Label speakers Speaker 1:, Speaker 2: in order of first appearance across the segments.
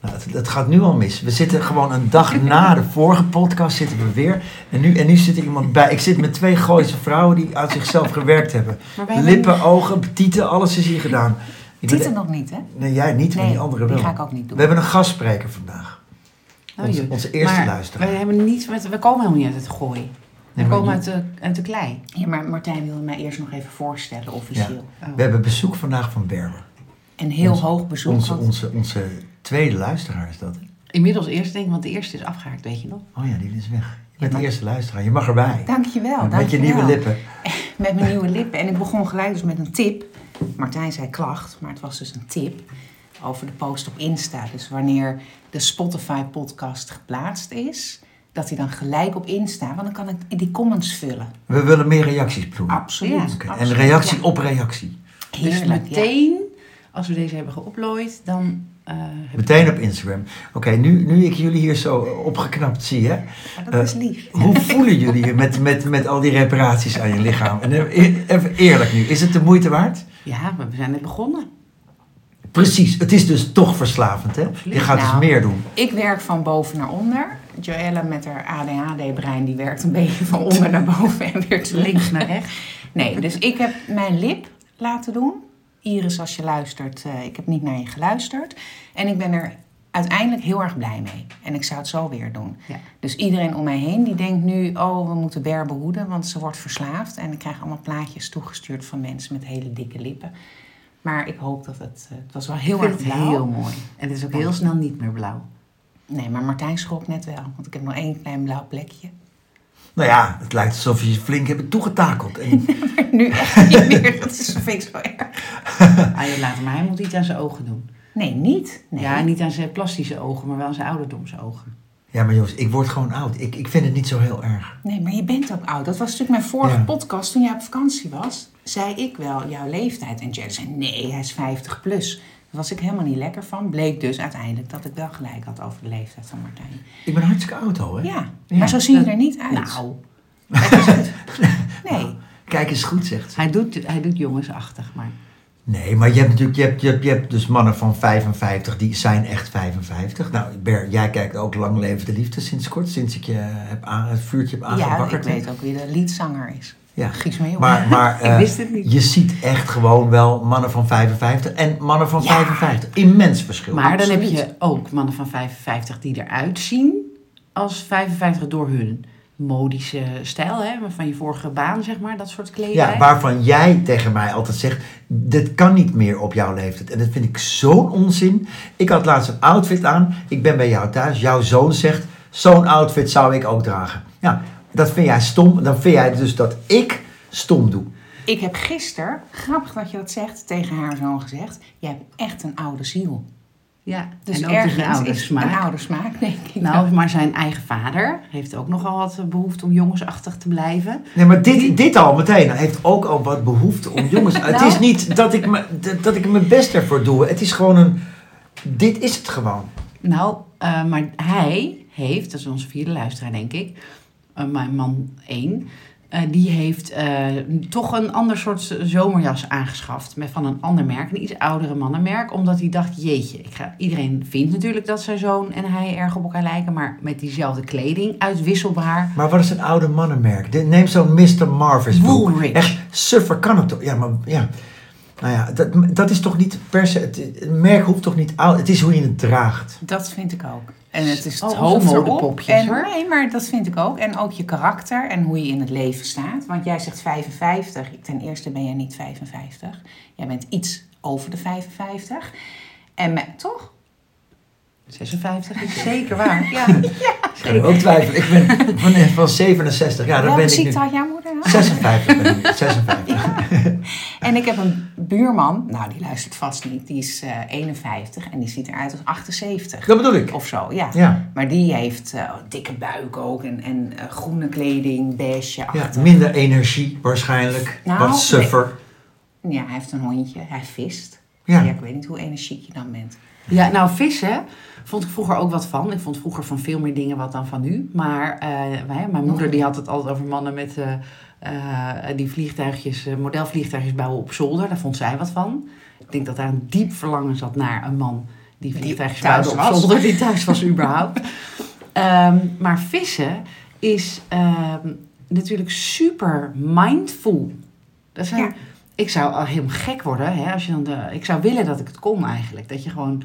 Speaker 1: Nou, dat, dat gaat nu al mis. We zitten gewoon een dag na de vorige podcast zitten we weer. En nu, en nu zit er iemand bij. Ik zit met twee Gooise vrouwen die aan zichzelf gewerkt hebben.
Speaker 2: Maar wij hebben
Speaker 1: Lippen, ogen, tieten, alles is hier gedaan. Ik ben-
Speaker 2: Tieten nog niet, hè?
Speaker 1: nee, jij niet, maar
Speaker 2: Nee,
Speaker 1: die andere
Speaker 2: die
Speaker 1: wel.
Speaker 2: ga ik ook niet doen.
Speaker 1: We hebben een gastspreker vandaag.
Speaker 2: Oh,
Speaker 1: onze,
Speaker 2: joh.
Speaker 1: onze eerste
Speaker 2: maar
Speaker 1: luisteraar.
Speaker 2: We, hebben niets met, we komen helemaal niet uit het gooi. We
Speaker 1: Nee, maar
Speaker 2: komen
Speaker 1: je-
Speaker 2: uit de, uit de klei. Ja, maar Martijn wilde mij eerst nog even voorstellen, officieel.
Speaker 1: We hebben bezoek vandaag van Berber.
Speaker 2: Een heel
Speaker 1: Onze-
Speaker 2: hoog bezoek.
Speaker 1: Onze,
Speaker 2: want
Speaker 1: onze, onze tweede luisteraar is dat. hè?
Speaker 2: Inmiddels eerst denk ik, want de eerste is afgehaakt, weet je nog?
Speaker 1: Oh ja, die is weg. Je bent
Speaker 2: maar-
Speaker 1: de eerste luisteraar. Je mag erbij.
Speaker 2: Dankjewel.
Speaker 1: Met je
Speaker 2: dankjewel.
Speaker 1: nieuwe lippen.
Speaker 2: Met mijn nieuwe lippen. En ik begon gelijk dus met een tip. Martijn zei klacht, maar het was dus een tip over de post op Insta. Dus wanneer de Spotify-podcast geplaatst is, dat hij dan gelijk op Insta, want dan kan ik die comments vullen.
Speaker 1: We willen meer reacties ploegen.
Speaker 2: Absoluut.
Speaker 1: Oké,
Speaker 2: absoluut.
Speaker 1: En reactie
Speaker 2: Ja.
Speaker 1: op reactie.
Speaker 2: Heerlijk,
Speaker 3: dus
Speaker 2: ja.
Speaker 3: meteen, als we deze hebben geüpload, dan... eh, heb
Speaker 1: Meteen op Instagram. Oké, nu, nu ik jullie hier zo opgeknapt zie, hè?
Speaker 2: Maar Ah, dat is
Speaker 1: Eh,
Speaker 2: lief.
Speaker 1: Hoe voelen jullie je met, met, met al die reparaties aan je lichaam? En eh, even eerlijk nu, is het de moeite waard?
Speaker 3: Ja, maar we zijn net begonnen.
Speaker 1: Precies, het is dus toch verslavend, hè? Je gaat dus
Speaker 2: Nou.
Speaker 1: meer doen.
Speaker 2: Ik werk van boven naar onder. Joëlle met haar ADHD-brein, die werkt een beetje van onder naar boven en weer te links naar rechts. Nee, dus ik heb mijn lip laten doen. Iris, als je luistert, eh, ik heb niet naar je geluisterd. En ik ben er uiteindelijk heel erg blij mee. En ik zou het zo weer doen.
Speaker 3: Ja.
Speaker 2: Dus iedereen om mij heen die denkt nu, oh, we moeten Ber behoeden, want ze wordt verslaafd. En ik krijg allemaal plaatjes toegestuurd van mensen met hele dikke lippen. Maar ik hoop dat het, eh, het was wel heel
Speaker 3: Ik vind
Speaker 2: erg
Speaker 3: het
Speaker 2: blauw.
Speaker 3: heel mooi. En het is ook heel snel niet meer blauw.
Speaker 2: Nee, maar Martijn schrok net wel, want ik heb nog één klein blauw plekje.
Speaker 1: Nou ja, het lijkt alsof je je flink hebt toegetakeld. En
Speaker 2: Maar nu echt niet meer, dat is, vind ik zo erg.
Speaker 3: Ah, je laat hem, maar hij moet iets aan zijn ogen doen.
Speaker 2: Nee, niet. Nee.
Speaker 3: Ja, niet aan zijn plastische ogen, maar wel aan zijn ouderdomse ogen.
Speaker 1: Ja, maar jongens, ik word gewoon oud. Ik, ik vind het niet zo heel erg.
Speaker 2: nee, maar je bent ook oud. Dat was natuurlijk mijn vorige
Speaker 1: Ja.
Speaker 2: podcast toen jij op vakantie was. Zei ik wel jouw leeftijd. En Jerry zei, nee, hij is 50 plus. Daar was ik helemaal niet lekker van. Bleek dus uiteindelijk dat ik wel gelijk had over de leeftijd van Martijn.
Speaker 1: Ik ben hartstikke oud al, hè?
Speaker 2: Ja,
Speaker 1: Ja,
Speaker 2: maar zo zie je
Speaker 3: dat-
Speaker 2: er niet uit.
Speaker 3: Nou.
Speaker 2: Dat is het. Nee.
Speaker 1: Nou, Kijk eens goed, zegt ze.
Speaker 3: Hij doet, hij doet jongensachtig, maar...
Speaker 1: Nee, maar je hebt natuurlijk je hebt, je hebt, je hebt dus mannen van 55, die zijn echt 55. Nou, Ber, jij kijkt ook Lang Leven de Liefde sinds kort, sinds ik je heb aan, het vuurtje heb
Speaker 2: Ja, ik
Speaker 1: aangebakkerd.
Speaker 2: weet ook wie de liedzanger is.
Speaker 1: Ja.
Speaker 2: Gies me
Speaker 1: Maar, maar eh,
Speaker 3: wist het niet.
Speaker 1: je ziet echt gewoon wel mannen van 55 en mannen van
Speaker 2: Ja.
Speaker 1: 55. Immens verschil.
Speaker 3: Maar dan heb
Speaker 2: Absoluut.
Speaker 3: je ook mannen van 55 die eruit zien als 55 door hun modische stijl, hè, van je vorige baan, zeg maar, dat soort kleding.
Speaker 1: Ja, waarvan jij tegen mij altijd zegt, dit kan niet meer op jouw leeftijd. En dat vind ik zo'n onzin. Ik had laatst een outfit aan, ik ben bij jou thuis, jouw zoon zegt, zo'n outfit zou ik ook dragen. Ja, dat vind jij stom, dan vind jij dus dat ik stom doe.
Speaker 2: Ik heb gisteren, grappig dat je dat zegt, tegen haar zoon gezegd: Jij hebt echt een oude ziel.
Speaker 3: Ja,
Speaker 2: Dus
Speaker 3: en ook
Speaker 2: ergens
Speaker 3: dus een oude
Speaker 2: is
Speaker 3: smaak.
Speaker 2: een oude smaak, denk ik.
Speaker 3: Nou, maar zijn eigen vader heeft ook nogal wat behoefte om jongensachtig te blijven.
Speaker 1: Nee, maar dit, dit al meteen heeft ook al wat behoefte om jongens... Het is niet dat ik, me, dat- dat ik mijn best ervoor doe, het is gewoon een... Dit is het gewoon.
Speaker 3: Nou, eh, maar hij heeft, dat is onze vierde luisteraar denk ik, eh, mijn man één, eh, die heeft eh, toch een ander soort zomerjas aangeschaft met, van een ander merk, een iets oudere mannenmerk, omdat hij dacht, jeetje, ik ga, iedereen vindt natuurlijk dat zijn zoon en hij erg op elkaar lijken, maar met diezelfde kleding, uitwisselbaar.
Speaker 1: Maar wat is een oude mannenmerk? De- Neem zo'n Mr. Marvis boek.
Speaker 3: Woolrich.
Speaker 1: Echt, suffer kan het toch? Ja, maar ja. Nou ja, dat, dat is toch niet per se... Het, een merk hoeft toch niet oud... Het is hoe je het draagt.
Speaker 2: dat vind ik ook. En het is het
Speaker 3: Oh,
Speaker 2: hoofd
Speaker 3: onze
Speaker 2: erop.
Speaker 3: modepopjes,
Speaker 2: En,
Speaker 3: hoor.
Speaker 2: nee, maar dat vind ik ook. En ook je karakter en hoe je in het leven staat. Want jij zegt 55. Ik- Ten eerste ben jij niet 55. Jij bent iets over de 55. En me- toch?
Speaker 3: 56 is zeker waar.
Speaker 2: Ja,
Speaker 1: Ik kan ook twijfelen. Ik ben van, van 67 jaar, dat
Speaker 2: welke
Speaker 1: ben ik
Speaker 2: ziekte
Speaker 1: nu.
Speaker 2: had jouw moeder? nou?
Speaker 1: 56 ben ik, 56.
Speaker 2: En ik heb een buurman, nou die luistert vast niet, die is eh, 51 en die ziet eruit als 78
Speaker 1: Dat bedoel ik.
Speaker 2: of zo, ja.
Speaker 1: Ja,
Speaker 2: Maar die heeft eh, dikke buik ook en, en eh, groene kleding, beige,
Speaker 1: ja
Speaker 2: achter.
Speaker 1: minder energie waarschijnlijk.
Speaker 2: Nou,
Speaker 1: wat suffer.
Speaker 2: Ja. hij heeft een hondje, hij vist.
Speaker 1: Ja.
Speaker 2: Ja. ik weet niet hoe energiek je dan bent.
Speaker 3: Ja, nou vissen vond ik vroeger ook wat van. Ik vond vroeger van veel meer dingen wat dan van nu. Maar eh, wij, mijn moeder die had het altijd over mannen met eh, eh, die vliegtuigjes, eh, modelvliegtuigjes bouwen op zolder. Daar vond zij wat van. Ik denk dat daar een diep verlangen zat naar een man die vliegtuigjes
Speaker 2: thuis
Speaker 3: buiten op
Speaker 2: was.
Speaker 3: zolder, die thuis was überhaupt. Ehm, maar vissen is ehm, natuurlijk super mindful. Dat zijn,
Speaker 2: Ja.
Speaker 3: Ik zou al helemaal gek worden. Hè, als je dan de, ik zou willen dat ik het kon eigenlijk. Dat je gewoon,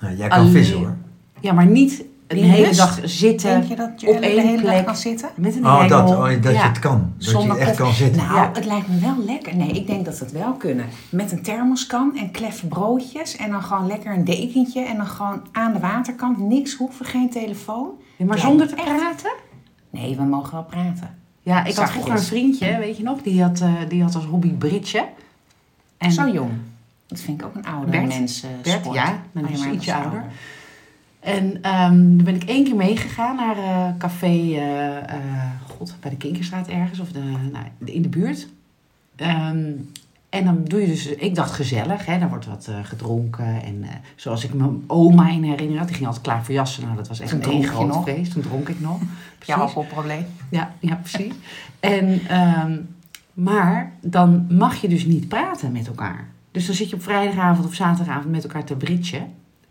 Speaker 1: Nou, jij kan
Speaker 3: Alleen-
Speaker 1: vissen hoor.
Speaker 3: ja, maar niet een
Speaker 2: Die
Speaker 3: hele
Speaker 2: rust.
Speaker 3: dag zitten
Speaker 2: Denk je dat
Speaker 3: eh, op
Speaker 2: Joelle de
Speaker 3: één
Speaker 2: hele dag
Speaker 3: plek.
Speaker 2: kan zitten?
Speaker 3: met een
Speaker 1: Oh, dat,
Speaker 3: hengel.
Speaker 1: oh, dat je
Speaker 3: Ja.
Speaker 1: het kan. Dat
Speaker 2: Zonder
Speaker 1: je echt kan
Speaker 2: koffie.
Speaker 1: zitten.
Speaker 2: Nou,
Speaker 3: Ja.
Speaker 2: het lijkt me wel lekker. Nee, ik denk dat we het wel kunnen. Met een thermoskan en klef broodjes. En dan gewoon lekker een dekentje. En dan gewoon aan de waterkant. Niks hoeven, geen telefoon.
Speaker 3: Ja, maar
Speaker 2: Ja,
Speaker 3: zonder te
Speaker 2: echt.
Speaker 3: praten?
Speaker 2: Nee, we mogen wel praten.
Speaker 3: Ja, ik had
Speaker 2: Zachtjes.
Speaker 3: vroeger een vriendje, weet je nog, die had, eh, die had als hobby bridgen. En
Speaker 2: Zo jong. Dat vind ik ook een oude
Speaker 3: Bert?
Speaker 2: mens eh,
Speaker 3: Bert,
Speaker 2: sport.
Speaker 3: ja, maar die is
Speaker 2: maar dat
Speaker 3: ietsje
Speaker 2: is
Speaker 3: ouder. En ehm daar ben ik één keer meegegaan naar eh café, eh, eh, god, bij de Kinkerstraat ergens, of de, nou, de- in de buurt. Ehm, en dan doe je dus, ik dacht gezellig, hè, dan wordt wat eh, gedronken. En eh, zoals ik mijn oma in herinnering had, die ging altijd klaar voor jassen. Nou, dat was echt
Speaker 2: Toen
Speaker 3: een
Speaker 2: dronk
Speaker 3: één
Speaker 2: je
Speaker 3: groot
Speaker 2: nog.
Speaker 3: feest. Toen dronk ik nog.
Speaker 2: Ja, alcoholprobleem.
Speaker 3: Ja, ja precies. En, ehm, maar dan mag je dus niet praten met elkaar. Dus dan zit je op vrijdagavond of zaterdagavond met elkaar te britsen.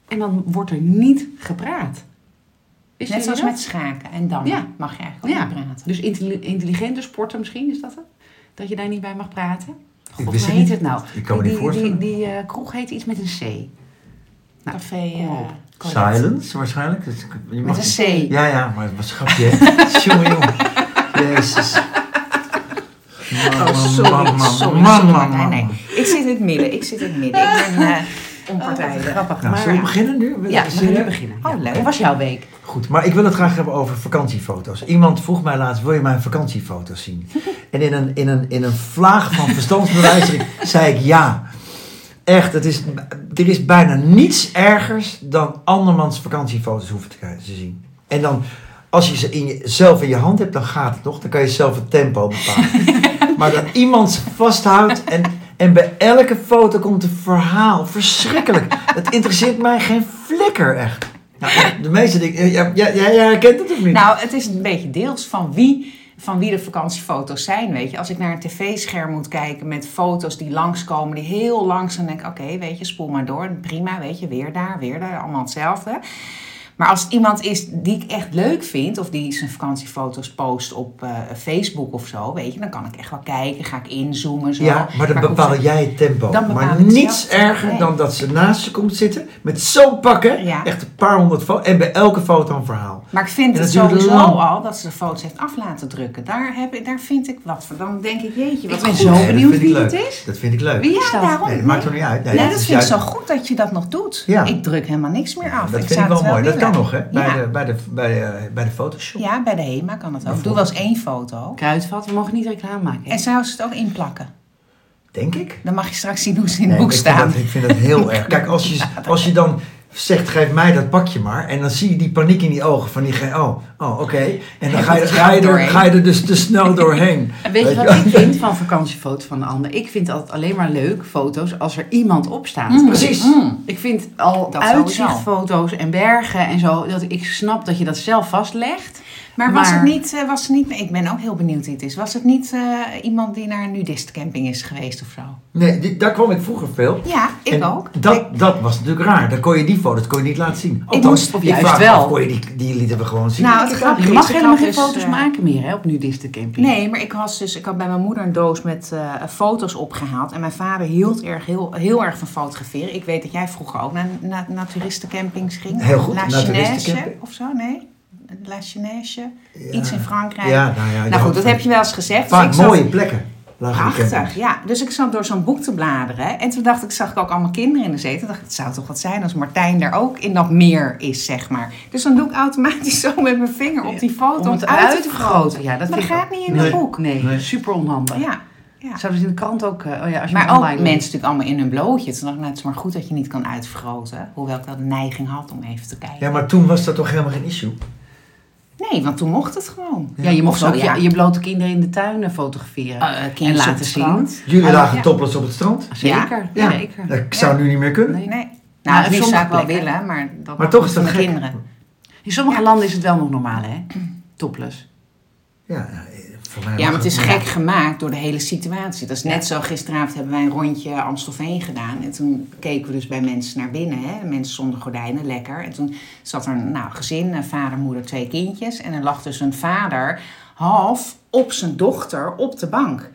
Speaker 3: En dan wordt er niet gepraat. Is
Speaker 2: Net zoals met schaken en dammen
Speaker 3: Ja.
Speaker 2: mag je eigenlijk ook
Speaker 3: ja.
Speaker 2: niet praten.
Speaker 3: Dus intelli- intelligente sporten misschien, is dat het? Dat je daar niet bij mag praten? God,
Speaker 1: wist
Speaker 3: hoe
Speaker 1: het
Speaker 3: heet
Speaker 1: niet.
Speaker 3: het nou?
Speaker 1: Ik kan me niet
Speaker 3: die,
Speaker 1: voorstellen.
Speaker 3: Die, die, eh, kroeg heet iets met een C. Nou,
Speaker 2: Café
Speaker 3: kom
Speaker 2: eh,
Speaker 3: op.
Speaker 2: Colette.
Speaker 1: Silence waarschijnlijk. Dus je mag
Speaker 2: Met een C.
Speaker 1: Ja, ja, maar het was een grapje. hè? Jongen, jongen. Jezus. Man,
Speaker 2: Oh,
Speaker 1: man,
Speaker 2: sorry,
Speaker 1: man, man,
Speaker 2: sorry,
Speaker 1: man,
Speaker 2: sorry.
Speaker 1: man,
Speaker 2: Nee,
Speaker 1: man,
Speaker 2: nee.
Speaker 1: man.
Speaker 2: Ik zit in het midden. Ik zit in het midden. Ik ben eh onpartijdig.
Speaker 3: Oh, Grappig,
Speaker 1: Nou,
Speaker 3: maar...
Speaker 1: zullen we beginnen nu? Met
Speaker 3: ja,
Speaker 1: het
Speaker 3: we gaan nu
Speaker 1: serieus?
Speaker 3: beginnen.
Speaker 2: Oh,
Speaker 3: Ja.
Speaker 2: leuk.
Speaker 3: Hoe was jouw week?
Speaker 1: Goed, maar ik wil het graag hebben over vakantiefoto's. Iemand vroeg mij laatst, wil je mijn vakantiefoto's zien? En in een, in een, in een vlaag van verstandsbewijzing zei ik ja. Echt, het is, er is bijna niets ergers dan andermans vakantiefoto's hoeven te krijgen- te zien. En dan, als je ze in je, zelf in je hand hebt, dan gaat het nog. Dan kan je zelf het tempo bepalen. maar dat iemand ze vasthoudt en, en bij elke foto komt een verhaal. Verschrikkelijk. Het interesseert mij geen flikker, echt. Nou, de meeste dingen, ja, ja, ja, jij herkent het of niet?
Speaker 2: Nou, het is een beetje deels van wie, van wie de vakantiefoto's zijn, weet je. Als ik naar een tv-scherm moet kijken met foto's die langskomen, die heel langzaam denk ik, oké, weet je, spoel maar door. Prima, weet je, weer daar, weer daar, allemaal hetzelfde. Maar als het iemand is die ik echt leuk vind, of die zijn vakantiefoto's post op eh, Facebook of zo, weet je, dan kan ik echt wel kijken, ga ik inzoomen, zo.
Speaker 1: Ja, maar dan
Speaker 2: ik hoef
Speaker 1: bepaal
Speaker 2: ze-
Speaker 1: jij het tempo.
Speaker 2: Dan bepaal
Speaker 1: maar
Speaker 2: ik het
Speaker 1: niets
Speaker 2: zelf.
Speaker 1: erger
Speaker 2: Nee.
Speaker 1: dan dat ze naast je komt zitten met zo'n pakken.
Speaker 2: Ja.
Speaker 1: Echt een paar honderd foto's. En bij elke foto een verhaal.
Speaker 2: Maar ik vind
Speaker 1: En
Speaker 2: het
Speaker 1: dat duurde
Speaker 2: sowieso
Speaker 1: lang.
Speaker 2: al dat ze de foto's heeft af laten drukken. Daar, heb ik, daar vind ik wat van. Dan denk ik, jeetje, wat
Speaker 3: Ik ben
Speaker 2: goed.
Speaker 3: zo
Speaker 1: Nee, dat
Speaker 3: benieuwd
Speaker 1: vind ik
Speaker 3: wie het
Speaker 1: leuk.
Speaker 3: is.
Speaker 1: Dat vind ik leuk.
Speaker 3: Wie is
Speaker 2: Ja,
Speaker 3: dat?
Speaker 2: daarom.
Speaker 1: Nee, dat maakt toch niet uit. Nee,
Speaker 2: Nee,
Speaker 1: dat
Speaker 2: dat
Speaker 1: is
Speaker 2: vind ik
Speaker 1: juist-
Speaker 2: zo goed dat je dat nog doet.
Speaker 1: Ja.
Speaker 2: Ik druk helemaal niks meer af.
Speaker 1: dat
Speaker 2: ik
Speaker 1: vind ik
Speaker 2: zou
Speaker 1: wel
Speaker 2: het
Speaker 1: mooi. Dat
Speaker 2: willen.
Speaker 1: kan nog, hè? Bij,
Speaker 2: ja.
Speaker 1: de, bij, de, bij, eh, bij de Photoshop.
Speaker 2: ja, bij de HEMA kan dat ook. Ik doe wel eens één foto.
Speaker 3: Kruidvat, we mogen niet reclame maken. hè?
Speaker 2: En zou ze het ook inplakken?
Speaker 1: Denk ik.
Speaker 2: Dan mag je straks zien hoe ze in het
Speaker 1: Nee,
Speaker 2: boek
Speaker 1: ik vind
Speaker 2: staan.
Speaker 1: dat- Ik vind dat heel erg. Kijk, als je, als je dan zegt, geef mij dat pakje maar. En dan zie je die paniek in die ogen van diegene. Oh, oh oké. En dan ga je, ga, je er, ga je er dus te snel doorheen.
Speaker 3: En Weet je wat ik vind van vakantiefoto's van een ander? Ik vind altijd alleen maar leuk foto's als er iemand op staat.
Speaker 2: Mm.
Speaker 1: Precies.
Speaker 3: Ik vind al
Speaker 2: Dat
Speaker 3: uitzichtfoto's en bergen en zo. Dat ik snap dat je dat zelf vastlegt.
Speaker 2: Maar was
Speaker 3: Maar-
Speaker 2: het niet, eh, was het niet, ik ben ook heel benieuwd wie het is. Was het niet eh, iemand die naar een nudistcamping is geweest of zo?
Speaker 1: Nee, die- daar kwam ik vroeger veel.
Speaker 2: Ja, ik
Speaker 1: En
Speaker 2: ook.
Speaker 1: Dat,
Speaker 2: Ik-
Speaker 1: dat was natuurlijk raar. Dan kon je die foto's kon je niet laten zien.
Speaker 3: moest- of juist
Speaker 1: vraag me
Speaker 3: wel.
Speaker 1: af, kon je die, die lieten we gewoon zien.
Speaker 2: nou, het grappige
Speaker 3: Je
Speaker 2: is,
Speaker 3: mag
Speaker 2: de
Speaker 3: helemaal
Speaker 2: grap
Speaker 3: geen
Speaker 2: is,
Speaker 3: foto's
Speaker 2: eh,
Speaker 3: maken meer hè, op nudistencamping.
Speaker 2: Nee, maar ik, was dus, ik had bij mijn moeder een doos met eh, foto's opgehaald. En mijn vader hield erg, heel, heel erg van fotograferen. Ik weet dat jij vroeger ook naar, naar naturistencampings ging.
Speaker 1: Heel goed,
Speaker 2: La Chinese
Speaker 1: naturistencamping.
Speaker 2: of zo, nee? La Chinese,
Speaker 1: Ja.
Speaker 2: iets in Frankrijk.
Speaker 1: Ja, nou ja. je
Speaker 2: nou goed,
Speaker 1: hoopt
Speaker 2: dat
Speaker 1: van-
Speaker 2: heb je wel eens gezegd. Dus
Speaker 1: Vaak
Speaker 2: ik zat-
Speaker 1: mooie plekken. lagen die
Speaker 2: Prachtig,
Speaker 1: campings.
Speaker 2: ja. Dus ik zat door zo'n boek te bladeren. En toen dacht ik, zag ik ook allemaal kinderen in de zetel. dacht ik, het zou toch wat zijn als Martijn daar ook in dat meer is, zeg maar. Dus dan doe ik automatisch zo met mijn vinger op die foto
Speaker 3: Om het uit te vergroten. Ja, dat
Speaker 2: Maar dat
Speaker 3: vind ik
Speaker 2: gaat
Speaker 3: ook-
Speaker 2: niet in
Speaker 1: Nee.
Speaker 2: een boek.
Speaker 3: Nee,
Speaker 1: Nee.
Speaker 3: super onhandig.
Speaker 2: Ja, ja.
Speaker 3: Zouden ze in de krant ook... eh, oh ja, als je
Speaker 2: Maar
Speaker 3: hem
Speaker 2: ook
Speaker 3: online
Speaker 2: mensen
Speaker 3: doet.
Speaker 2: natuurlijk allemaal in hun blootje. Toen dacht ik, nou, het is maar goed dat je niet kan uitvergroten. Hoewel ik wel de neiging had om even te kijken.
Speaker 1: Ja, maar toen was dat toch helemaal geen issue?
Speaker 2: Nee, want toen mocht het gewoon.
Speaker 3: Ja, je
Speaker 2: Of
Speaker 3: mocht
Speaker 2: zo,
Speaker 3: ook
Speaker 2: ja.
Speaker 3: je, je blote kinderen in de tuinen fotograferen.
Speaker 2: Eh, kindjes
Speaker 3: en
Speaker 2: op
Speaker 3: laten
Speaker 2: het
Speaker 3: zien.
Speaker 2: strand.
Speaker 1: Jullie
Speaker 2: Oh,
Speaker 1: lagen
Speaker 2: ja.
Speaker 1: topless op het strand?
Speaker 3: Zeker,
Speaker 1: Ja.
Speaker 3: zeker.
Speaker 1: Dat zou nu niet meer kunnen.
Speaker 3: Nee.
Speaker 2: Nee.
Speaker 3: Nou,
Speaker 2: Nou, het liefst
Speaker 3: sommige
Speaker 2: zou ik wel
Speaker 3: plekken.
Speaker 2: willen, maar dat
Speaker 1: Maar
Speaker 2: mag
Speaker 1: toch
Speaker 2: niet
Speaker 1: is
Speaker 2: van
Speaker 1: dat
Speaker 2: de
Speaker 1: gek.
Speaker 2: kinderen.
Speaker 3: In sommige
Speaker 2: Ja.
Speaker 3: landen is het wel nog normaal, hè? Topless.
Speaker 1: Ja, eh, voor mij
Speaker 2: Ja,
Speaker 1: was
Speaker 2: maar het
Speaker 1: dat-
Speaker 2: is gek gemaakt door de hele situatie. Dat is net zo, gisteravond hebben wij een rondje Amstelveen gedaan. En toen keken we dus bij mensen naar binnen. Hè? Mensen zonder gordijnen, lekker. En toen zat er een nou, gezin, een vader, moeder, twee kindjes. En er lag dus een vader half op zijn dochter op de bank.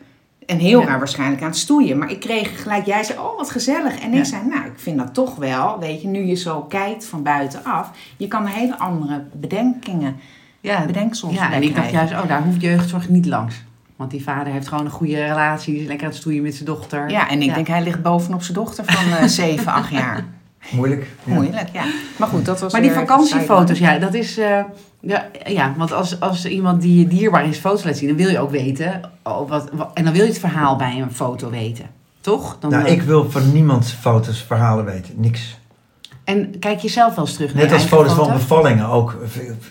Speaker 2: En heel
Speaker 3: Ja.
Speaker 2: raar waarschijnlijk aan het stoeien. Maar ik kreeg gelijk, jij zei, oh wat gezellig. En ik
Speaker 3: Ja.
Speaker 2: zei, nou ik vind dat toch wel, weet je, nu je zo kijkt van buitenaf. Je kan er hele andere bedenkingen,
Speaker 3: Ja,
Speaker 2: bedenksels
Speaker 3: ja,
Speaker 2: bij
Speaker 3: en ik dacht
Speaker 2: krijgen.
Speaker 3: juist, oh, daar hoeft jeugdzorg niet langs. Want die vader heeft gewoon een goede relatie, die is lekker aan het stoeien met zijn dochter.
Speaker 2: Ja, en ik denk, hij ligt bovenop zijn dochter van eh 7, 8 jaar.
Speaker 1: Moeilijk. ja.
Speaker 2: Moeilijk, ja. Maar goed, dat was
Speaker 3: Maar die
Speaker 2: weer
Speaker 3: vakantiefoto's,
Speaker 2: even
Speaker 3: ja, dat is. eh, ja, ja, want als, als iemand die je dierbaar is foto's laat zien, dan wil je ook weten. Oh, wat, wat- en dan wil je het verhaal bij een foto weten. Toch? Dan
Speaker 1: Nou, ik wil van niemand foto's, verhalen weten. Niks.
Speaker 3: En kijk jezelf wel eens terug naar
Speaker 1: Net
Speaker 3: je
Speaker 1: als
Speaker 3: eigen
Speaker 1: foto's
Speaker 3: foto.
Speaker 1: van bevallingen ook.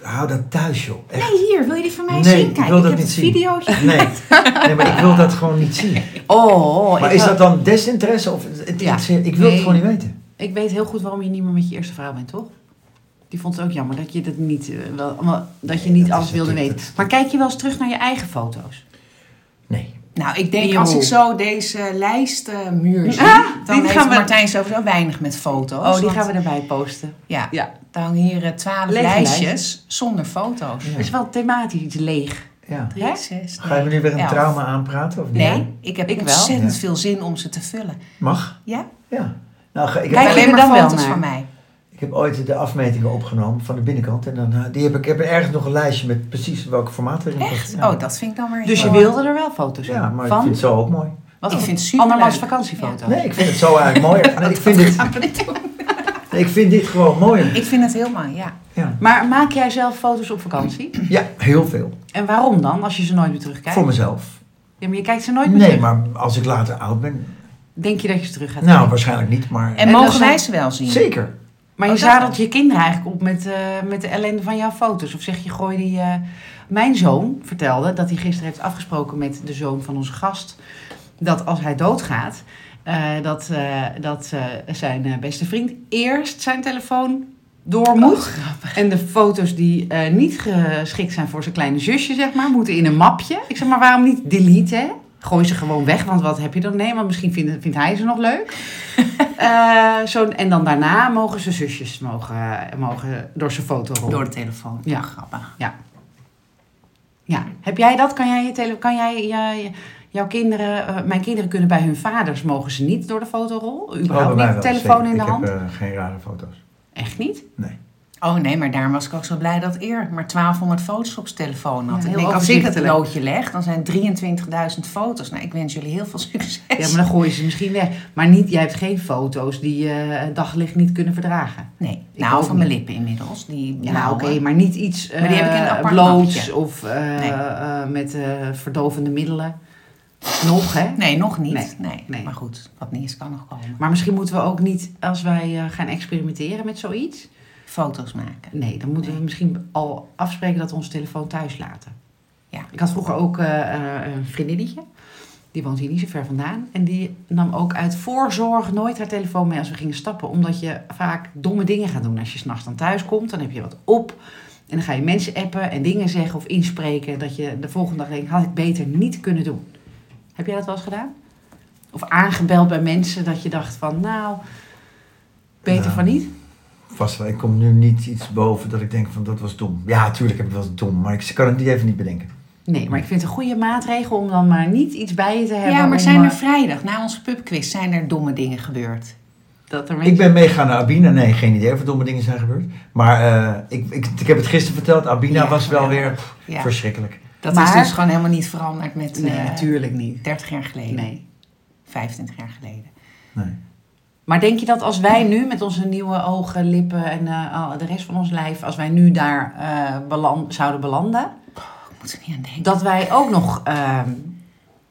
Speaker 1: Hou dat thuis, joh.
Speaker 2: zijdelings.
Speaker 1: Echt.
Speaker 2: Nee, hier, wil je die van mij
Speaker 1: Nee,
Speaker 2: zien?
Speaker 1: ik
Speaker 2: Kijk,
Speaker 1: wil dat
Speaker 2: heb
Speaker 1: niet
Speaker 2: het
Speaker 1: zien.
Speaker 2: videootje.
Speaker 1: Nee. nee, maar ik wil dat gewoon niet zien.
Speaker 3: Oh, oh,
Speaker 1: Maar
Speaker 3: ik,
Speaker 1: is
Speaker 3: wel-
Speaker 1: dat dan desinteresse? Of, het- het
Speaker 3: Ja.
Speaker 1: interesseert- ik wil
Speaker 3: Nee.
Speaker 1: het gewoon niet weten.
Speaker 3: ik weet heel goed waarom je niet meer met je eerste vrouw bent, toch? Die vond het ook jammer dat je dat niet, eh, wel, wel- dat je
Speaker 1: Nee,
Speaker 3: niet
Speaker 1: dat
Speaker 3: alles
Speaker 1: is
Speaker 3: wilde
Speaker 1: natuurlijk-
Speaker 3: weten. Maar kijk je wel eens terug naar je eigen foto's?
Speaker 1: Nee.
Speaker 2: Nou, ik
Speaker 3: In
Speaker 2: denk
Speaker 3: je
Speaker 2: als ik
Speaker 3: hoek.
Speaker 2: zo deze lijst eh, muur zie, dan
Speaker 3: die
Speaker 2: heeft
Speaker 3: gaan we-
Speaker 2: Martijn sowieso weinig met foto's.
Speaker 3: Oh, die
Speaker 2: want-
Speaker 3: gaan we erbij posten.
Speaker 2: Ja,
Speaker 3: Ja.
Speaker 2: dan hangen hier eh, twaalf
Speaker 3: Lege
Speaker 2: lijstjes
Speaker 3: lijstjes.
Speaker 2: zonder foto's.
Speaker 1: Ja.
Speaker 3: Het is wel thematisch iets leeg.
Speaker 1: Ja.
Speaker 2: Drie,
Speaker 3: Hè?
Speaker 2: zes,
Speaker 1: Ga je me nu
Speaker 2: negen,
Speaker 1: weer een
Speaker 2: elf.
Speaker 1: trauma aanpraten? Of niet?
Speaker 2: Nee, ik heb
Speaker 3: Ik wel.
Speaker 2: ontzettend
Speaker 1: Ja.
Speaker 2: veel zin om ze te vullen.
Speaker 1: Mag?
Speaker 2: Ja?
Speaker 1: Ja. Nou, ga- ik,
Speaker 2: Kijk
Speaker 1: heb,
Speaker 3: je
Speaker 2: alleen
Speaker 3: er
Speaker 2: maar
Speaker 3: dan wel
Speaker 2: foto's
Speaker 3: naar?
Speaker 2: van mij.
Speaker 1: ik heb ooit de afmetingen opgenomen van de binnenkant. En dan, eh, die heb ik, ik heb ergens nog een lijstje met precies welke formaten erin
Speaker 2: Echt?
Speaker 1: zitten. Ja.
Speaker 2: Oh, dat vind ik dan weer
Speaker 3: Dus je
Speaker 2: heel-
Speaker 3: wilde er wel foto's
Speaker 1: Ja, maar ik
Speaker 3: van?
Speaker 1: vind het zo ook mooi.
Speaker 3: Wat
Speaker 2: Ik
Speaker 3: voor-
Speaker 2: vind het superleuk.
Speaker 3: Andermans vakantiefoto's.
Speaker 1: Nee, ik vind het zo eigenlijk mooier. Nee, ik, vind dit, nee, ik vind dit gewoon mooier.
Speaker 2: Ik vind het heel mooi, ja.
Speaker 1: Ja,
Speaker 3: Maar maak jij zelf foto's op vakantie?
Speaker 1: ja heel veel.
Speaker 3: En waarom dan, als je ze nooit meer terugkijkt?
Speaker 1: Voor mezelf.
Speaker 3: Ja, maar je kijkt ze nooit meer
Speaker 1: Nee,
Speaker 3: terug.
Speaker 1: maar als ik later oud ben.
Speaker 3: Denk je dat je ze terug gaat
Speaker 1: Nou,
Speaker 3: kijken?
Speaker 1: waarschijnlijk niet, maar. eh,
Speaker 2: En,
Speaker 3: En
Speaker 2: mogen
Speaker 3: dat
Speaker 2: wij
Speaker 3: zijn-
Speaker 2: ze wel zien?
Speaker 1: Zeker.
Speaker 3: Maar je
Speaker 2: Oh, dat-
Speaker 3: zadelt je kinderen eigenlijk op met, eh, met de ellende van jouw foto's. Of zeg je, gooi die... eh, Mijn zoon vertelde dat hij gisteren heeft afgesproken met de zoon van onze gast... dat als hij doodgaat, eh, dat, eh, dat eh, zijn eh, beste vriend eerst zijn telefoon
Speaker 2: Oh,
Speaker 3: door moet. en de foto's die eh, niet geschikt zijn voor zijn kleine zusje, zeg maar, moeten in een mapje. Ik zeg maar, waarom niet deleten, hè? Gooi ze gewoon weg, want wat heb je dan? Nee, want misschien vindt, vindt hij ze nog leuk. Eh, zo, en dan daarna mogen ze zusjes mogen, mogen door zijn foto rollen.
Speaker 2: Door de telefoon.
Speaker 3: Ja.
Speaker 2: grappig.
Speaker 3: Ja, heb jij dat? Kan jij, je tele, kan jij je- jouw kinderen, eh, mijn kinderen kunnen bij hun vaders, mogen ze niet door de fotorol?
Speaker 1: Oh, bij
Speaker 3: Überhaupt
Speaker 1: mij
Speaker 3: niet,
Speaker 1: wel,
Speaker 3: telefoon
Speaker 1: zeker.
Speaker 3: in de
Speaker 1: ik
Speaker 3: hand?
Speaker 1: heb eh, geen rare foto's.
Speaker 3: Echt niet?
Speaker 1: Nee.
Speaker 2: Oh nee, maar daarom was ik ook zo blij dat Eer maar 1200 foto's op zijn telefoon had. ik
Speaker 3: Ja, heel
Speaker 2: denk, als ik het
Speaker 3: overzichtelijk.
Speaker 2: loodje leg, dan zijn 23.000 foto's. Nou, ik wens jullie heel veel succes.
Speaker 3: Ja, maar dan gooien ze misschien weg. Maar niet, jij hebt geen foto's die je eh, het daglicht niet kunnen verdragen.
Speaker 2: Nee,
Speaker 3: Ik
Speaker 2: nou,
Speaker 3: ook
Speaker 2: van mijn
Speaker 3: niet.
Speaker 2: lippen inmiddels. Die
Speaker 3: Ja,
Speaker 2: blauwe.
Speaker 3: oké, maar niet iets eh
Speaker 2: Maar die heb ik in een apart
Speaker 3: bloots
Speaker 2: mapje.
Speaker 3: of eh,
Speaker 2: Nee.
Speaker 3: eh, met eh, verdovende middelen. Nog, hè?
Speaker 2: Nee, nog niet. Nee,
Speaker 3: Nee,
Speaker 2: nee.
Speaker 3: nee.
Speaker 2: Maar goed, wat niet is kan nog komen.
Speaker 3: Maar misschien moeten we ook niet, als wij eh, gaan experimenteren met zoiets...
Speaker 2: Foto's maken.
Speaker 3: Nee, dan moeten we misschien al afspreken dat we onze telefoon thuis laten.
Speaker 2: Ja.
Speaker 3: Ik had vroeger ook eh, eh, een vriendinnetje. Die woont hier niet zo ver vandaan. En die nam ook uit voorzorg nooit haar telefoon mee als we gingen stappen. Omdat je vaak domme dingen gaat doen. Als je s'nachts dan thuis komt, dan heb je wat op. En dan ga je mensen appen en dingen zeggen of inspreken. Dat je de volgende dag denkt, had ik beter niet kunnen doen. Heb jij dat wel eens gedaan? Of aangebeld bij mensen dat je dacht van, nou, beter
Speaker 1: Nou,
Speaker 3: van niet?
Speaker 1: Vast wel. Ik kom nu niet iets boven dat ik denk van dat was dom. Ja, tuurlijk heb ik wel eens dom, maar ik kan het niet even niet bedenken.
Speaker 3: Nee, maar ik vind het een goede maatregel om dan maar niet iets bij je te hebben.
Speaker 2: Ja, maar
Speaker 3: om,
Speaker 2: zijn er
Speaker 3: eh,
Speaker 2: vrijdag, na onze pubquiz, zijn er domme dingen gebeurd?
Speaker 3: dat er
Speaker 1: Ik ben meegegaan naar Abina. Nee, geen idee of er domme dingen zijn gebeurd. Maar eh, ik, ik, ik heb het gisteren verteld. Abina
Speaker 2: Ja,
Speaker 1: was wel
Speaker 2: geweldig.
Speaker 1: weer pff,
Speaker 2: Ja.
Speaker 1: verschrikkelijk.
Speaker 2: Dat is
Speaker 3: Maar-
Speaker 2: dus gewoon helemaal niet veranderd met
Speaker 3: Nee,
Speaker 2: eh,
Speaker 3: natuurlijk niet.
Speaker 2: 30 jaar geleden,
Speaker 3: Nee.
Speaker 2: 25 jaar geleden.
Speaker 1: Nee.
Speaker 3: Maar denk je dat als wij nu met onze nieuwe ogen, lippen en eh, al de rest van ons lijf, als wij nu daar eh, belan- zouden belanden,
Speaker 2: Ik moet er niet aan denken.
Speaker 3: dat wij ook nog eh,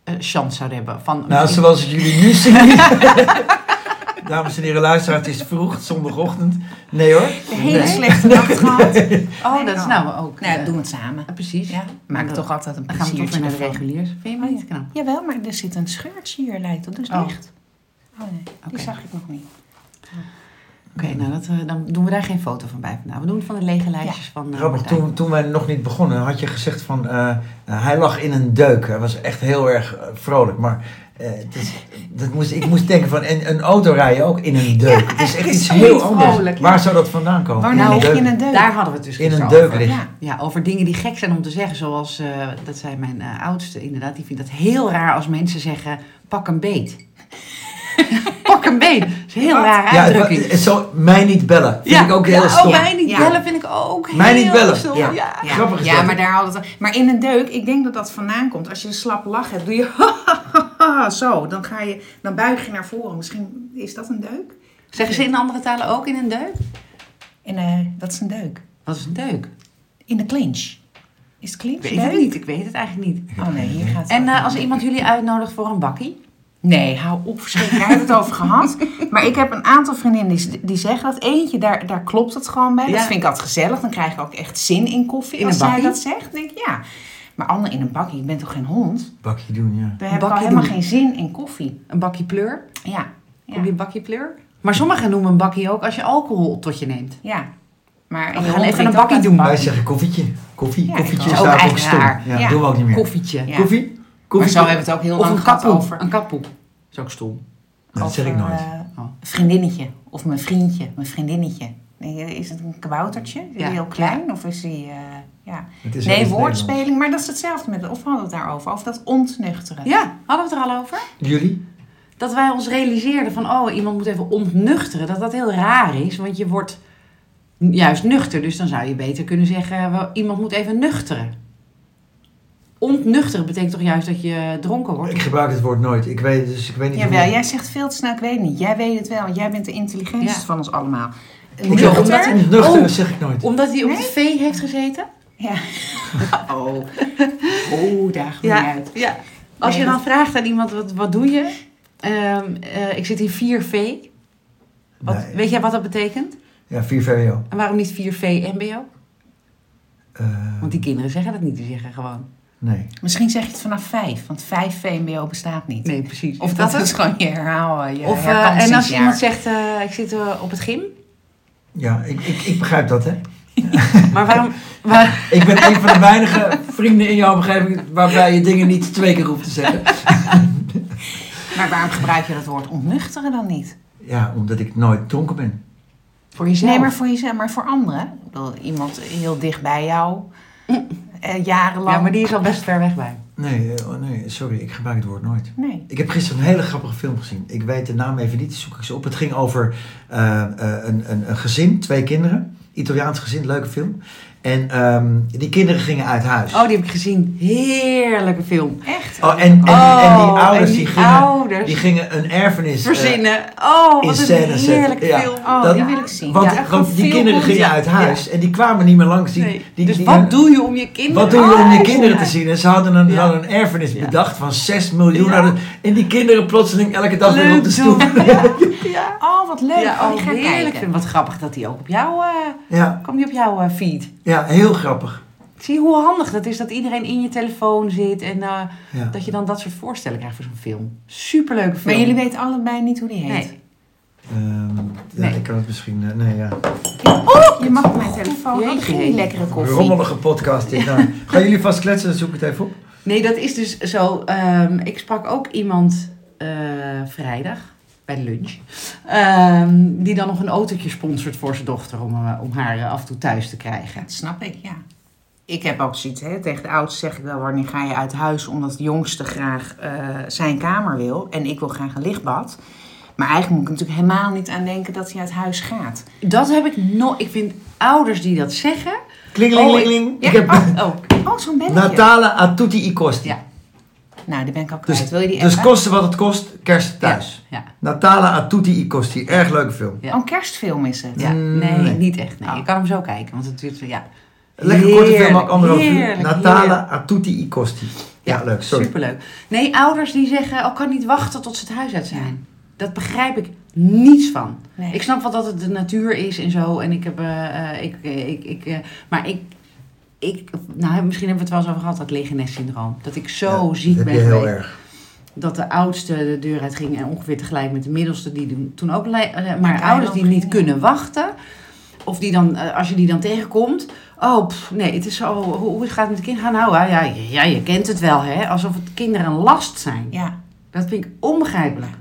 Speaker 3: een chance zouden hebben van. Oh,
Speaker 1: Nou, zoals het jullie nu zien. Dames en heren, luisteraar, het is vroeg, zondagochtend. Nee hoor.
Speaker 2: Een hele
Speaker 1: Nee.
Speaker 2: slechte nacht gehad.
Speaker 3: oh, dat is nou ook.
Speaker 2: Nou,
Speaker 3: eh,
Speaker 2: doen we het samen.
Speaker 3: Precies.
Speaker 2: Ja, maak
Speaker 3: Dan
Speaker 2: toch altijd een
Speaker 3: Dan gaan we toch
Speaker 2: pleziertje
Speaker 3: weer naar de
Speaker 2: ervan.
Speaker 3: reguliers. Vind je me
Speaker 2: Oh,
Speaker 3: niet knap?
Speaker 2: Jawel, maar er zit een scheurtje hier, lijkt het. Dus
Speaker 3: Oh.
Speaker 2: dicht. Oh nee, die
Speaker 3: Oké.
Speaker 2: zag ik nog niet.
Speaker 3: nou dat, eh, dan doen we daar geen foto van bij vandaag. We doen het van de lege lijstjes van
Speaker 2: Nou,
Speaker 3: eh,
Speaker 1: Grappig,
Speaker 3: Martijn.
Speaker 1: toen, toen wij nog niet begonnen had je gezegd van eh, eh, hij lag in een deuk. Hij was echt heel erg eh, vrolijk. Maar eh, het is, dat moest, ik moest denken van en, een auto rijden ook in een deuk. het is echt
Speaker 2: is
Speaker 1: iets
Speaker 2: heel
Speaker 1: heel anders.
Speaker 2: vrolijk, ja.
Speaker 1: Waar zou dat vandaan komen?
Speaker 3: Oh,
Speaker 2: Waar
Speaker 1: In
Speaker 2: nou
Speaker 1: een
Speaker 2: lig je
Speaker 1: deuk.
Speaker 2: in een deuk?
Speaker 3: Daar hadden we het dus
Speaker 1: In een
Speaker 3: gisteren
Speaker 1: deuk
Speaker 3: over.
Speaker 1: ligt.
Speaker 2: Ja.
Speaker 3: Ja, over dingen die gek zijn om te zeggen. Zoals, eh, dat zei mijn eh, oudste inderdaad, die vindt dat heel raar als mensen zeggen, pak een beet. pak een beet. Dat is een heel rare
Speaker 1: Ja, het wa-
Speaker 3: uitdrukking.
Speaker 1: het zou mij niet bellen. Vind
Speaker 3: Ja.
Speaker 1: ik ook
Speaker 3: Ja,
Speaker 1: heel
Speaker 3: Oh,
Speaker 1: stom.
Speaker 3: mij niet
Speaker 2: Ja.
Speaker 3: bellen vind ik ook
Speaker 1: Mij
Speaker 3: heel
Speaker 1: niet bellen.
Speaker 3: stom.
Speaker 1: Ja.
Speaker 3: Ja.
Speaker 2: Ja,
Speaker 1: Grappig is
Speaker 2: ja
Speaker 1: dat.
Speaker 2: maar daar hadden we. Maar in een deuk, ik denk dat dat vandaan komt. Als je een slap lach hebt, doe je zo. Dan, ga je, dan buig je naar voren. Misschien is dat een deuk?
Speaker 3: Zeggen ze in andere talen ook in een deuk?
Speaker 2: En eh, dat is een deuk.
Speaker 3: Wat is een deuk?
Speaker 2: In de clinch. Is het clinch
Speaker 3: Ik weet het
Speaker 2: leuk?
Speaker 3: niet, ik weet het eigenlijk niet.
Speaker 2: Oh nee, hier gaat het
Speaker 3: En
Speaker 2: ook
Speaker 3: eh,
Speaker 2: niet.
Speaker 3: als iemand jullie uitnodigt voor een bakkie?
Speaker 2: Nee, hou op, verschrikkelijk. Daar hebben we het over gehad. Maar ik heb een aantal vriendinnen die, die zeggen dat. Eentje, daar, daar klopt het gewoon bij. Dat
Speaker 3: Ja.
Speaker 2: vind ik altijd gezellig. Dan krijg ik ook echt zin in koffie.
Speaker 3: In
Speaker 2: als
Speaker 3: een
Speaker 2: zij
Speaker 3: bakkie?
Speaker 2: dat zegt, denk ik ja. Maar ander in een bakje, ik ben toch geen hond?
Speaker 1: Bakje doen, ja.
Speaker 2: Daar heb ik al
Speaker 3: bakkie
Speaker 2: helemaal
Speaker 3: doen.
Speaker 2: geen zin in koffie.
Speaker 3: Een bakkie pleur?
Speaker 2: Ja.
Speaker 3: Kom je een bakkie pleur? Maar sommigen noemen een bakkie ook als je alcohol tot je neemt.
Speaker 2: Ja. Maar
Speaker 3: We
Speaker 2: je
Speaker 3: gaan
Speaker 2: hond
Speaker 3: even een
Speaker 2: drinkt ook
Speaker 3: bakkie
Speaker 2: uit-
Speaker 3: doen.
Speaker 1: Wij zeggen koffietje. Koffie.
Speaker 2: Ja, ik
Speaker 1: Koffietje
Speaker 2: ook. Oh,
Speaker 1: is
Speaker 3: Ook
Speaker 1: daar ook
Speaker 3: eigenlijk
Speaker 1: stom. Ja,
Speaker 3: raar.
Speaker 2: Ja.
Speaker 1: doen we ook niet meer.
Speaker 3: Koffietje.
Speaker 2: Ja.
Speaker 1: Koffie?
Speaker 2: Maar
Speaker 1: Koffie?
Speaker 2: zo hebben we het ook heel
Speaker 3: Of
Speaker 2: lang
Speaker 3: een
Speaker 2: gehad
Speaker 3: kapoe.
Speaker 2: over.
Speaker 3: Een kapoe. Is ook stom.
Speaker 1: dat zeg ik
Speaker 2: over,
Speaker 1: nooit.
Speaker 2: eh,
Speaker 3: Oh.
Speaker 2: vriendinnetje of mijn vriendje, mijn vriendinnetje. Nee, eh, Is het een kaboutertje? Is die
Speaker 3: Ja.
Speaker 2: heel klein? Of is die... eh, ja.
Speaker 1: Het is
Speaker 2: nee,
Speaker 1: heel
Speaker 2: woordspeling, maar dat is hetzelfde met... Of we hadden we het daarover? Of dat ontnuchteren.
Speaker 3: Ja, hadden we het er al over?
Speaker 1: Jullie?
Speaker 3: Dat wij ons realiseerden van, oh, iemand moet even ontnuchteren. Dat dat heel raar is, want je wordt juist nuchter. Dus dan zou je beter kunnen zeggen, wel, iemand moet even nuchteren. Ontnuchteren betekent toch juist dat je dronken wordt?
Speaker 1: Ik gebruik het woord nooit. Ik weet, dus ik weet niet
Speaker 2: Jawel,
Speaker 1: hoe-
Speaker 2: jij zegt veel te snel, ik weet niet. Jij weet het wel, want jij bent de intelligentste
Speaker 3: Ja.
Speaker 2: van ons allemaal.
Speaker 1: Ik
Speaker 3: Hoezo?
Speaker 1: zeg
Speaker 2: Nuchter-
Speaker 3: Omdat-
Speaker 1: altijd nuchter,
Speaker 3: Oh.
Speaker 1: zeg ik nooit.
Speaker 3: Omdat hij op
Speaker 2: Nee?
Speaker 3: de V heeft gezeten?
Speaker 2: Ja. Oh. Oh, daar gaat niet uit.
Speaker 3: ja. Als
Speaker 2: Nee,
Speaker 3: je dan
Speaker 2: dat-
Speaker 3: vraagt aan iemand, wat, wat doe je? Ehm, eh, ik zit in 4V. Wat,
Speaker 1: Nee.
Speaker 3: Weet jij wat dat betekent?
Speaker 1: Ja, 4 VWO.
Speaker 3: En waarom niet 4V MBO?
Speaker 1: Eh,
Speaker 3: Want die kinderen zeggen dat niet, die zeggen gewoon.
Speaker 1: nee.
Speaker 2: Misschien zeg je het vanaf vijf, want vijf VMBO bestaat niet.
Speaker 3: Nee, precies.
Speaker 2: Of dat, is gewoon je herhaal, je
Speaker 3: Of, eh, en als
Speaker 2: herkansingsjaar.
Speaker 3: iemand zegt, eh, ik zit eh, op het gym.
Speaker 1: Ja, ik, ik, ik begrijp dat, hè.
Speaker 3: Maar waarom... waar-
Speaker 1: Ik ben een van de weinige vrienden in jouw omgeving waarbij je dingen niet twee keer hoeft te zeggen.
Speaker 2: Maar waarom gebruik je dat woord ontnuchteren dan niet?
Speaker 1: Ja, omdat ik nooit dronken ben.
Speaker 3: voor jezelf.
Speaker 2: Nee, maar voor jezelf, maar voor anderen. Ik bedoel, iemand heel dicht bij jou, eh, jarenlang.
Speaker 3: Mm. Ja, maar die is al best ver weg bij.
Speaker 1: Nee, eh, oh nee, sorry, ik gebruik het woord nooit.
Speaker 2: Nee.
Speaker 1: Ik heb gisteren een hele grappige film gezien. Ik weet de naam even niet, zoek ik ze op. Het ging over eh, eh, een, een, een gezin, twee kinderen. Italiaans gezin, leuke film. En ehm, die kinderen gingen uit huis.
Speaker 3: Oh, die heb ik gezien. Heerlijke film.
Speaker 2: Echt?
Speaker 1: Oh, en, en, die- en die
Speaker 3: Oh,
Speaker 1: ouders,
Speaker 3: en
Speaker 1: die, gingen,
Speaker 3: ouders
Speaker 1: die gingen een erfenis eh,
Speaker 3: verzinnen. Oh,
Speaker 1: in
Speaker 3: wat een
Speaker 1: scène zetten.
Speaker 3: heerlijke
Speaker 1: Ja,
Speaker 3: film.
Speaker 2: Oh,
Speaker 1: dat-
Speaker 2: die wil ik zien.
Speaker 1: Want,
Speaker 3: Ja, echt
Speaker 1: want
Speaker 3: een
Speaker 1: die
Speaker 3: veel
Speaker 1: kinderen
Speaker 3: goed,
Speaker 1: gingen
Speaker 3: ja.
Speaker 1: uit huis en die kwamen niet meer langs. Die,
Speaker 3: Nee.
Speaker 1: die,
Speaker 3: dus
Speaker 1: die-
Speaker 3: wat doe je om je kinderen
Speaker 1: wat doe je om je
Speaker 3: uit
Speaker 1: kinderen te
Speaker 3: laten-
Speaker 1: zien? En ze hadden een,
Speaker 3: Ja.
Speaker 1: hadden een erfenis
Speaker 3: Ja.
Speaker 1: bedacht van 6 miljoen.
Speaker 3: Ja.
Speaker 1: hadden- En die kinderen plotseling elke dag weer
Speaker 3: Leuk
Speaker 1: op de stoep.
Speaker 3: Ja.
Speaker 2: Oh, wat leuk.
Speaker 3: Ja,
Speaker 2: oh,
Speaker 3: oh,
Speaker 2: ik ga
Speaker 3: heerlijk.
Speaker 2: kijken.
Speaker 3: Vind. Wat grappig dat die ook op jou... eh
Speaker 1: Ja,
Speaker 3: kwam die op jouw eh, feed.
Speaker 1: ja, heel grappig.
Speaker 3: Zie hoe handig dat is dat iedereen in je telefoon zit. En eh,
Speaker 1: Ja.
Speaker 3: dat je dan dat soort voorstellen krijgt voor zo'n film. Superleuke film.
Speaker 2: Maar jullie weten allebei niet hoe die heet.
Speaker 3: Nee.
Speaker 1: Ehm, ja,
Speaker 3: Nee.
Speaker 1: Ik kan het misschien... eh, nee, ja.
Speaker 3: Oh!
Speaker 2: Je mag op mijn telefoon.
Speaker 3: Jeetje.
Speaker 2: Oh, dat ging niet lekkere koffie.
Speaker 1: Rommelige podcast dit. Nou, gaan jullie vast kletsen, dan zoek ik het even op.
Speaker 3: Nee, dat is dus zo. ehm, ik sprak ook iemand eh, vrijdag bij de lunch. ehm, die dan nog een autootje sponsort voor zijn dochter om, eh, om haar eh, af en toe thuis te krijgen.
Speaker 2: Dat snap ik, ja. Ik heb ook zoiets, hè. tegen de oudste zeg ik wel, wanneer ga je uit huis omdat de jongste graag eh, zijn kamer wil. En ik wil graag een lichtbad. Maar eigenlijk moet ik natuurlijk helemaal niet aan denken dat hij uit huis gaat.
Speaker 3: Dat heb ik nog. Ik vind ouders die dat zeggen.
Speaker 1: Klingelingeling.
Speaker 2: Ja,
Speaker 1: Ik heb
Speaker 2: oh,
Speaker 3: Oh,
Speaker 2: oh, zo'n belletje.
Speaker 1: Natale a tutti i costi.
Speaker 3: ja.
Speaker 2: Nou, die ben ik al kwijt.
Speaker 1: Dus,
Speaker 2: wil je die
Speaker 1: dus
Speaker 2: appen?
Speaker 1: kosten wat het kost, kerst thuis.
Speaker 3: Ja.
Speaker 1: Natale a tutti i costi. Erg leuke film.
Speaker 3: Ja.
Speaker 2: Oh, een kerstfilm is het.
Speaker 3: ja. Nee,
Speaker 1: Nee.
Speaker 3: niet echt. Nee.
Speaker 2: Oh.
Speaker 3: Je kan hem zo kijken, want het duurt. Ja.
Speaker 1: Lekker korte film, ook
Speaker 3: Heerlijk,
Speaker 1: anderhalf uur.
Speaker 3: heerlijk,
Speaker 1: Natale
Speaker 3: heerlijk.
Speaker 1: a tutti i costi. Ja, leuk. Sorry.
Speaker 3: Superleuk. Nee, ouders die zeggen, oh, kan niet wachten tot ze het huis uit zijn. Dat begrijp ik niets van.
Speaker 2: Nee.
Speaker 3: Ik snap wel dat het de natuur is en zo. En ik heb, eh, eh, ik, eh, ik, ik, eh, maar ik, ik, nou, misschien hebben we het wel eens over gehad, dat legeness syndroom. Dat ik zo
Speaker 1: Ja,
Speaker 3: ziek
Speaker 1: dat
Speaker 3: ben
Speaker 1: heb je heel
Speaker 3: geweest.
Speaker 1: erg.
Speaker 3: dat de oudste de deur uit ging en ongeveer tegelijk met de middelste, die doen toen ook. le- eh, Maar,
Speaker 2: Maar
Speaker 3: ouders die
Speaker 2: ook
Speaker 3: niet
Speaker 2: ging, ja.
Speaker 3: kunnen wachten, of die dan, eh, als je die dan tegenkomt, oh pff, nee, het is zo, hoe, hoe gaat het met het kind gaan? Nou ah, ja, ja, je kent het wel, hè? alsof het kinderen een last zijn.
Speaker 2: Ja.
Speaker 3: Dat vind ik onbegrijpelijk.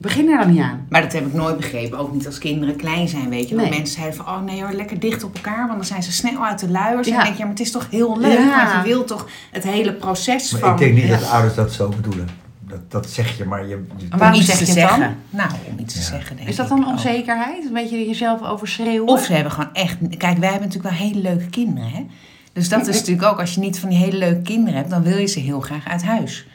Speaker 3: Begin er dan niet aan.
Speaker 2: Maar dat heb ik nooit begrepen. Ook niet als kinderen klein zijn, weet je. Want
Speaker 3: Nee.
Speaker 2: mensen zeiden van, oh nee hoor, lekker dicht op elkaar. Want dan zijn ze snel uit de luiers. En
Speaker 3: Ja.
Speaker 2: dan denk je, ja, maar het is toch heel leuk.
Speaker 3: Ja.
Speaker 2: Want je wil toch het hele proces
Speaker 1: Maar
Speaker 2: van...
Speaker 1: ik denk niet
Speaker 2: Ja.
Speaker 1: dat ouders dat zo bedoelen. Dat, dat zeg je, maar je... je-
Speaker 3: Maar- Waarom
Speaker 2: iets
Speaker 3: zeg
Speaker 2: te
Speaker 3: je het dan?
Speaker 2: zeggen. Nou, om iets te
Speaker 1: Ja.
Speaker 2: zeggen, denk
Speaker 3: Is dat
Speaker 2: ik
Speaker 3: dan
Speaker 2: ook.
Speaker 3: onzekerheid? Een beetje jezelf overschreeuwen?
Speaker 2: Of ze hebben gewoon echt... Kijk, wij hebben natuurlijk wel hele leuke kinderen, hè. Dus dat is natuurlijk ook, als je niet van die hele leuke kinderen hebt... dan wil je ze heel graag uit huis.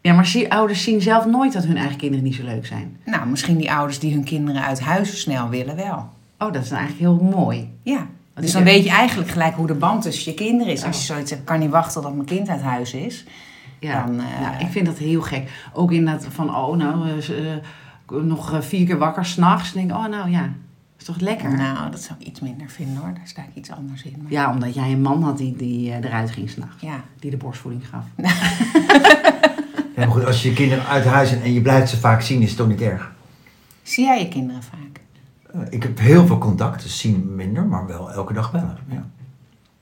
Speaker 3: Ja, maar zie, ouders zien zelf nooit dat hun eigen kinderen niet zo leuk zijn.
Speaker 2: Nou, misschien die ouders die hun kinderen uit huis snel willen wel.
Speaker 3: Oh, dat is dan eigenlijk heel mooi.
Speaker 2: Ja.
Speaker 3: Dat
Speaker 2: dus
Speaker 3: is
Speaker 2: dan
Speaker 3: echt- Oh.
Speaker 2: weet je eigenlijk gelijk hoe de band tussen je kinderen is.
Speaker 3: Ja.
Speaker 2: Als je zoiets hebt, kan niet wachten tot mijn kind uit huis is.
Speaker 3: Ja,
Speaker 2: Dan, eh,
Speaker 3: ja, ik vind dat heel gek. Ook inderdaad van, oh nou, eh, eh, nog eh, vier keer wakker s'nachts. denk ik, oh nou ja, is toch lekker?
Speaker 2: Nou, dat zou ik iets minder vinden hoor. Daar sta ik iets anders in. Maar...
Speaker 3: Ja, omdat jij een man had die, die eh, eruit ging s'nachts.
Speaker 2: Ja.
Speaker 3: Die de borstvoeding gaf.
Speaker 1: Ja, maar goed, als je je kinderen uit huis en, en je blijft ze vaak zien, is het toch niet erg?
Speaker 2: Zie jij je kinderen vaak?
Speaker 1: Eh, Ik heb heel veel contacten, zien minder, maar wel elke dag bellen. Ja,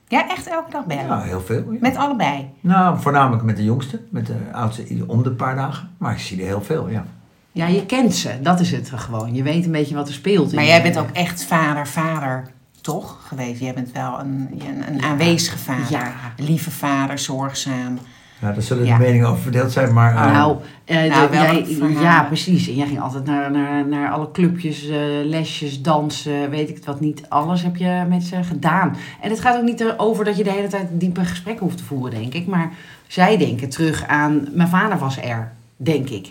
Speaker 2: Ja, echt elke dag bellen?
Speaker 1: ja heel veel. ja.
Speaker 2: Met allebei?
Speaker 1: Nou, voornamelijk met de jongste, met de oudste ieder- om de paar dagen. Maar ik zie er heel veel, ja.
Speaker 3: Ja, je kent ze. Dat is het gewoon. Je weet een beetje wat er speelt. in
Speaker 2: Maar
Speaker 3: je-
Speaker 2: jij bent ook echt vader, vader toch geweest? Jij bent wel een, een, een aanwezige vader.
Speaker 3: Ja.
Speaker 2: Lieve vader, zorgzaam.
Speaker 1: ja daar zullen
Speaker 2: Ja.
Speaker 1: de meningen over verdeeld zijn, maar... eh,
Speaker 3: Nou, eh,
Speaker 2: Nou,
Speaker 3: de-
Speaker 2: wel
Speaker 3: jij-
Speaker 2: verhalen.
Speaker 3: ja, precies. En jij ging altijd naar, naar, naar alle clubjes, eh, lesjes, dansen, weet ik het wat niet. Alles heb je met ze gedaan. En het gaat ook niet erover dat je de hele tijd diepe gesprekken hoeft te voeren, denk ik. Maar zij denken terug aan, mijn vader was er, denk ik.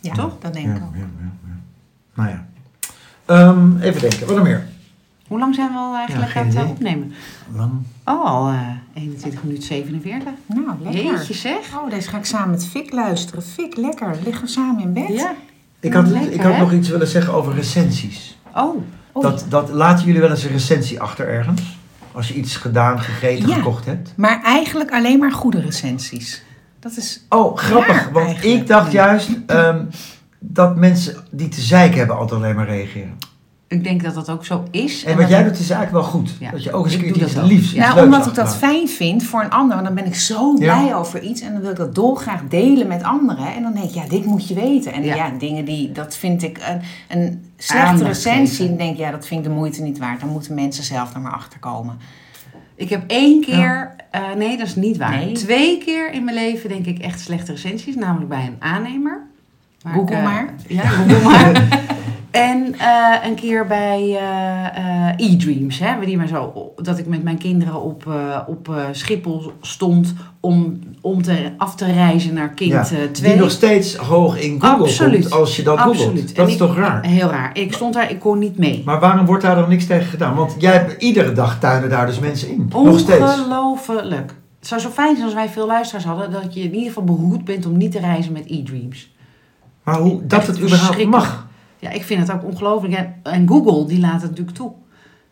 Speaker 2: Ja,
Speaker 3: Toch?
Speaker 2: Dat denk
Speaker 1: ja,
Speaker 2: ik
Speaker 1: ja,
Speaker 2: ook.
Speaker 1: ja, ja. Nou ja. Ehm, even denken, wat nog meer?
Speaker 3: Hoe lang zijn we al eigenlijk
Speaker 1: Ja,
Speaker 3: aan het
Speaker 1: geen
Speaker 3: eh,
Speaker 1: idee.
Speaker 3: opnemen?
Speaker 1: Lang.
Speaker 3: Oh, al eh 21 minuten 47.
Speaker 2: Nou, lekker.
Speaker 3: Jeetje zeg.
Speaker 2: Oh, deze ga ik samen met Fik luisteren. Fik, lekker. Liggen we samen in bed?
Speaker 3: Ja.
Speaker 1: Ik had,
Speaker 3: Lekker,
Speaker 1: ik had
Speaker 3: hè?
Speaker 1: nog iets willen zeggen over recensies.
Speaker 3: Oh,
Speaker 2: Oei.
Speaker 1: Dat, dat, laten jullie wel eens een recensie achter ergens? Als je iets gedaan, gegeten,
Speaker 2: Ja.
Speaker 1: gekocht hebt?
Speaker 2: Maar eigenlijk alleen maar goede recensies. Dat is...
Speaker 1: Oh, grappig.
Speaker 2: Raar
Speaker 1: want
Speaker 2: eigenlijk.
Speaker 1: ik dacht juist ehm, dat mensen die te zeiken hebben altijd alleen maar reageren.
Speaker 3: ik denk dat dat ook zo is.
Speaker 1: En
Speaker 3: dat-
Speaker 1: wat jij doet is eigenlijk wel goed.
Speaker 3: Ja.
Speaker 1: Dat je ook eens een
Speaker 3: Ik
Speaker 1: keer
Speaker 3: doe
Speaker 1: iets
Speaker 3: dat ook.
Speaker 1: liefs, iets
Speaker 2: nou,
Speaker 1: leuks
Speaker 2: omdat ik dat
Speaker 1: achterlaat.
Speaker 2: fijn vind voor een ander. Want dan ben ik zo
Speaker 1: Ja.
Speaker 2: blij over iets. En dan wil ik dat dolgraag delen met anderen. En dan denk ik, ja, dit moet je weten. En
Speaker 3: Ja.
Speaker 2: ja, dingen die, dat vind ik een, een slechte
Speaker 3: Aandacht
Speaker 2: recensie.
Speaker 3: geven.
Speaker 2: Dan denk ik, ja, dat vind ik de moeite niet waard. Dan moeten mensen zelf er maar achter komen.
Speaker 3: Ik heb één
Speaker 1: Oh.
Speaker 3: keer, eh, nee dat is niet waar.
Speaker 2: Nee.
Speaker 3: Twee keer in mijn leven denk ik echt slechte recensies, namelijk bij een aannemer. Waar
Speaker 2: Google
Speaker 3: eh,
Speaker 2: maar.
Speaker 3: Ja, Google maar. En eh, een keer bij eh, eh, E-Dreams, hè, die maar zo, op- dat ik met mijn kinderen op, eh, op eh, Schiphol stond om, om te, af te reizen naar kind eh, twee.
Speaker 1: Die nog steeds hoog in Google
Speaker 3: Absoluut.
Speaker 1: komt als je dat googelt.
Speaker 3: En
Speaker 1: Dat is
Speaker 3: ik-
Speaker 1: toch raar?
Speaker 3: Heel raar. Ik stond daar, ik kon niet mee.
Speaker 1: Maar waarom wordt daar dan niks tegen gedaan? Want jij hebt iedere dag tuinen daar dus mensen in. Nog steeds.
Speaker 3: Ongelooflijk. Het zou zo fijn zijn als wij veel luisteraars hadden, dat je in ieder geval behoed bent om niet te reizen met e-dreams.
Speaker 1: Maar hoe, dat
Speaker 3: Echt
Speaker 1: het überhaupt
Speaker 3: verschrikkelijk.
Speaker 1: mag.
Speaker 3: Ja, ik vind het ook ongelooflijk. En, en Google, die laat het natuurlijk toe.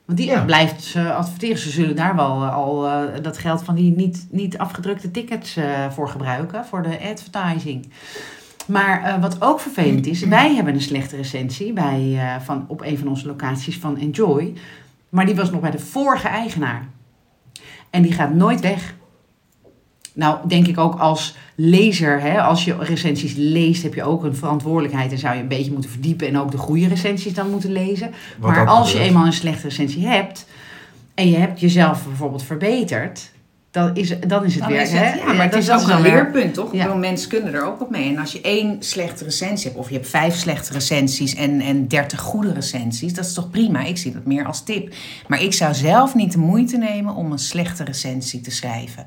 Speaker 3: Want die
Speaker 1: Ja.
Speaker 3: blijft ze adverteren. Ze zullen daar wel eh, al eh, dat geld van die niet, niet afgedrukte tickets eh, voor gebruiken, voor de advertising. Maar eh, wat ook vervelend is,
Speaker 1: Mm-hmm.
Speaker 3: wij hebben een slechte recensie bij, eh, van, op een van onze locaties van Enjoy. Maar die was nog bij de vorige eigenaar. En die gaat nooit weg. Nou, denk ik ook als lezer, hè, als je recensies leest, heb je ook een verantwoordelijkheid. En zou je een beetje moeten verdiepen en ook de goede recensies dan moeten lezen.
Speaker 1: Wat
Speaker 3: maar
Speaker 1: ook
Speaker 3: als je
Speaker 1: gebeurt.
Speaker 3: eenmaal een slechte recensie hebt en je hebt jezelf bijvoorbeeld verbeterd, dan is, dan is het
Speaker 2: Dan
Speaker 3: weer.
Speaker 2: is het-
Speaker 3: hè, eh,
Speaker 2: ja, maar het
Speaker 3: dat
Speaker 2: is ook
Speaker 3: dan
Speaker 2: een
Speaker 3: weer-
Speaker 2: leerpunt, toch?
Speaker 3: Ja.
Speaker 2: Ik bedoel, mensen kunnen er ook op mee. En als je één slechte recensie hebt, of je hebt vijf slechte recensies en, en dertig goede recensies, dat is toch prima? Ik zie dat meer als tip. Maar ik zou zelf niet de moeite nemen om een slechte recensie te schrijven.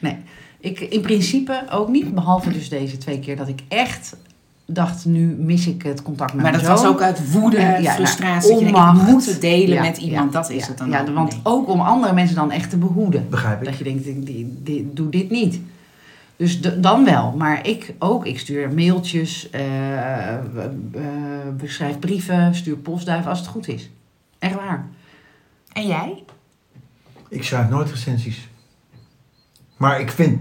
Speaker 3: Nee, ik in principe ook niet. Behalve dus deze twee keer dat ik echt dacht, nu mis ik het contact met
Speaker 2: Maar dat
Speaker 3: mijn zoon.
Speaker 2: was ook uit woede,
Speaker 3: Ja, ja,
Speaker 2: frustratie.
Speaker 3: nou,
Speaker 2: dat je denkt,
Speaker 3: onmacht.
Speaker 2: ik moet het delen
Speaker 3: Ja,
Speaker 2: met iemand,
Speaker 3: ja,
Speaker 2: dat is
Speaker 3: ja,
Speaker 2: het dan.
Speaker 3: Ja,
Speaker 2: ook.
Speaker 3: want
Speaker 2: Nee.
Speaker 3: ook om andere mensen dan echt te behoeden.
Speaker 1: Begrijp ik.
Speaker 3: Dat je denkt, die, die, die- doe dit niet. Dus d- dan wel. Maar ik ook. Ik stuur mailtjes, eh, eh, beschrijf brieven, stuur postduiven als het goed is. Echt waar.
Speaker 2: En jij?
Speaker 1: Ik schrijf nooit recensies. Maar ik vind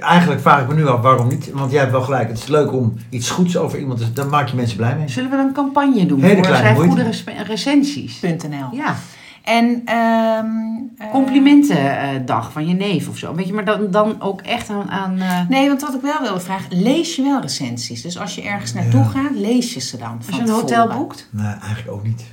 Speaker 1: Eigenlijk vraag ik me nu af waarom niet. Want jij hebt wel gelijk. Het is leuk om iets goeds over iemand te Dan maak je mensen blij mee.
Speaker 3: Zullen we dan een campagne doen
Speaker 1: Hele
Speaker 3: voor
Speaker 1: kleine
Speaker 3: zijn
Speaker 1: moeite.
Speaker 3: goede respe- recensies?
Speaker 2: .nl.
Speaker 3: Ja,
Speaker 2: En ehm, eh,
Speaker 3: complimentendag van je neef of zo. Weet je, maar dan, dan ook echt aan... aan eh,
Speaker 2: Nee, want wat ik wel wilde vragen, lees je wel recensies? Dus als je ergens naartoe
Speaker 1: Ja.
Speaker 2: gaat, lees je ze dan van
Speaker 3: als je een
Speaker 2: tevoren?
Speaker 3: hotel boekt.
Speaker 1: Nee, eigenlijk ook niet.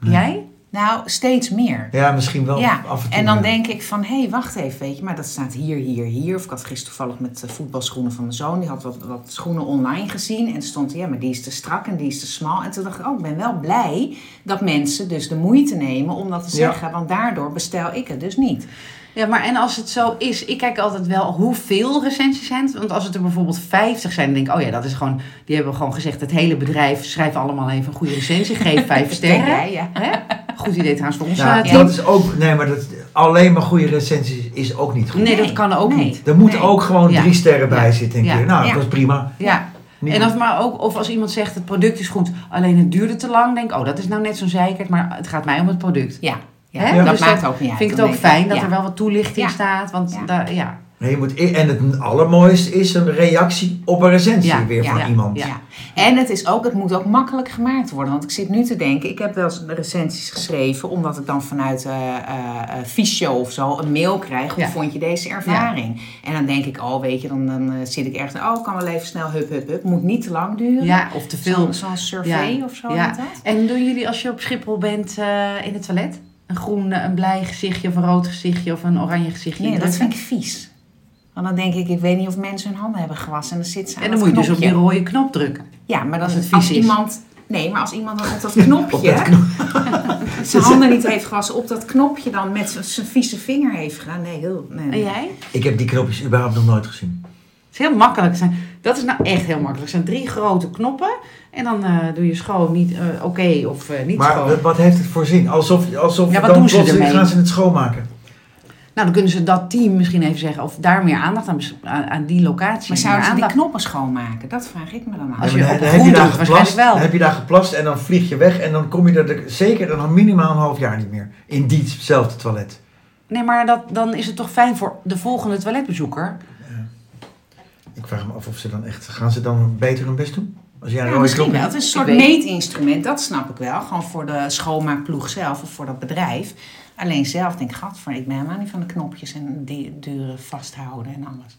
Speaker 3: Jij?
Speaker 2: Nou, steeds meer.
Speaker 1: Ja, misschien wel
Speaker 2: Ja,
Speaker 1: af en toe.
Speaker 2: en dan
Speaker 1: ja.
Speaker 2: denk ik van, hé, hey, wacht even, weet je, maar dat staat hier, hier, hier. Of ik had gisteren toevallig met de voetbalschoenen van mijn zoon, die had wat, wat schoenen online gezien. En er stond, ja, maar die is te strak en die is te smal. En toen dacht ik, oh, ik ben wel blij dat mensen dus de moeite nemen om dat te
Speaker 1: Ja.
Speaker 2: zeggen. Want daardoor bestel ik het dus niet.
Speaker 3: Ja, maar en als het zo is, ik kijk altijd wel hoeveel recensies zijn. het. Want als het er bijvoorbeeld 50 zijn, dan denk ik, oh ja, dat is gewoon, die hebben gewoon gezegd, het hele bedrijf, schrijf allemaal even een goede recensie, geef vijf
Speaker 2: Denk
Speaker 3: sterren.
Speaker 2: jij, ja.
Speaker 3: Hè? Goed idee trouwens voor ons
Speaker 1: Ja,
Speaker 3: eh, team.
Speaker 1: dat is ook. Nee, maar dat, alleen maar goede recensies is ook niet goed.
Speaker 3: Nee, dat kan ook
Speaker 2: nee.
Speaker 3: niet.
Speaker 1: Er moeten
Speaker 2: Nee.
Speaker 1: ook gewoon
Speaker 3: Ja.
Speaker 1: drie sterren bij
Speaker 3: Ja.
Speaker 1: zitten. Een
Speaker 3: Ja.
Speaker 1: keer. Nou,
Speaker 2: Ja.
Speaker 1: dat is prima.
Speaker 3: Ja.
Speaker 1: Niet
Speaker 3: En of, maar ook, of als iemand zegt het product is goed, alleen het duurde te lang. Denk, oh dat is nou net zo'n zeikert, maar het gaat mij om het product.
Speaker 2: Ja, ja,
Speaker 3: Hè?
Speaker 2: dat
Speaker 3: Dus
Speaker 2: maakt ook niet uit.
Speaker 3: Vind ik het
Speaker 2: Dan
Speaker 3: ook
Speaker 2: denk
Speaker 3: fijn dat
Speaker 2: ja.
Speaker 3: er wel wat toelichting
Speaker 2: Ja.
Speaker 3: staat. Want
Speaker 2: Ja.
Speaker 3: daar- ja.
Speaker 1: Nee, je moet, e- en het allermooiste is een reactie op een recensie
Speaker 3: Ja,
Speaker 1: weer
Speaker 2: ja,
Speaker 1: van
Speaker 3: ja,
Speaker 1: iemand.
Speaker 3: ja.
Speaker 2: Ja. En het, is ook, het moet ook makkelijk gemaakt worden. Want ik zit nu te denken, ik heb wel eens recensies geschreven, omdat ik dan vanuit eh eh, eh, Fysio of zo een mail krijg. Hoe
Speaker 3: Ja.
Speaker 2: vond je deze ervaring? En dan denk ik, oh weet je, dan, dan eh, zit ik ergens, oh ik kan wel even snel, hup, hup, hup. Moet niet te lang duren.
Speaker 3: ja, of te veel.
Speaker 2: Zo'n zo'n survey
Speaker 3: Ja,
Speaker 2: of zo.
Speaker 3: ja.
Speaker 2: heet dat?
Speaker 3: En doen jullie als je op Schiphol bent eh, in het toilet? Een groen, eh, een blij gezichtje, of een rood gezichtje of een oranje gezichtje?
Speaker 2: Nee, dat
Speaker 3: indrukken?
Speaker 2: vind ik vies. Want dan denk ik, ik weet niet of mensen hun handen hebben gewassen. En dan zit ze aan
Speaker 3: En dan
Speaker 2: dat
Speaker 3: moet je dus op
Speaker 2: knopje.
Speaker 3: die rode knop drukken.
Speaker 2: Ja, maar dan
Speaker 3: Als
Speaker 2: als,
Speaker 3: het vies is.
Speaker 2: iemand. Nee, maar als iemand dan op dat knopje.
Speaker 1: Op dat
Speaker 2: zijn handen niet heeft gewassen, op dat knopje dan met z- zijn vieze vinger heeft gedaan. Nee, heel. Nee,
Speaker 3: En
Speaker 2: nee.
Speaker 3: jij?
Speaker 1: Ik heb die knopjes überhaupt nog nooit gezien.
Speaker 3: Het is heel makkelijk. Het Zijn, dat is nou echt heel makkelijk. Het zijn drie grote knoppen. En dan eh, doe je schoon, niet eh, oké of eh, niet
Speaker 1: Maar
Speaker 3: schoon.
Speaker 1: wat- wat heeft het voor zin? Alsof, alsof
Speaker 3: Ja, wat
Speaker 1: dan
Speaker 3: doen ze
Speaker 1: plotseling
Speaker 3: ermee?
Speaker 1: gaan ze het schoonmaken.
Speaker 3: Nou, dan kunnen ze dat team misschien even zeggen. Of daar meer aandacht aan, bes- aan, aan die locatie.
Speaker 2: Maar
Speaker 3: meer
Speaker 2: zouden ze die
Speaker 3: aandacht.
Speaker 2: knoppen schoonmaken? Dat vraag ik me dan af.
Speaker 3: Als
Speaker 1: Ja,
Speaker 3: je
Speaker 1: maar
Speaker 3: op
Speaker 1: dan,
Speaker 3: een
Speaker 1: heb je
Speaker 3: groen
Speaker 1: daar
Speaker 3: doet,
Speaker 1: geplast,
Speaker 3: waarschijnlijk wel.
Speaker 1: dan heb je daar geplast en dan vlieg je weg. En dan kom je er de- zeker een, minimaal een half jaar niet meer. In diezelfde toilet.
Speaker 3: Nee, maar dat, dan is het toch fijn voor de volgende toiletbezoeker.
Speaker 1: Ik vraag me af of ze dan echt... Gaan ze dan beter hun best doen? Als jij een
Speaker 2: Ja,
Speaker 1: rode
Speaker 2: misschien
Speaker 1: knop
Speaker 2: wel.
Speaker 1: hebt.
Speaker 2: Het is een soort
Speaker 3: Ik weet-
Speaker 2: meetinstrument, dat snap ik wel. Gewoon voor de schoonmaakploeg zelf of voor dat bedrijf. Alleen zelf denk ik, gadver, ik ben helemaal niet van de knopjes en die duren vasthouden en alles.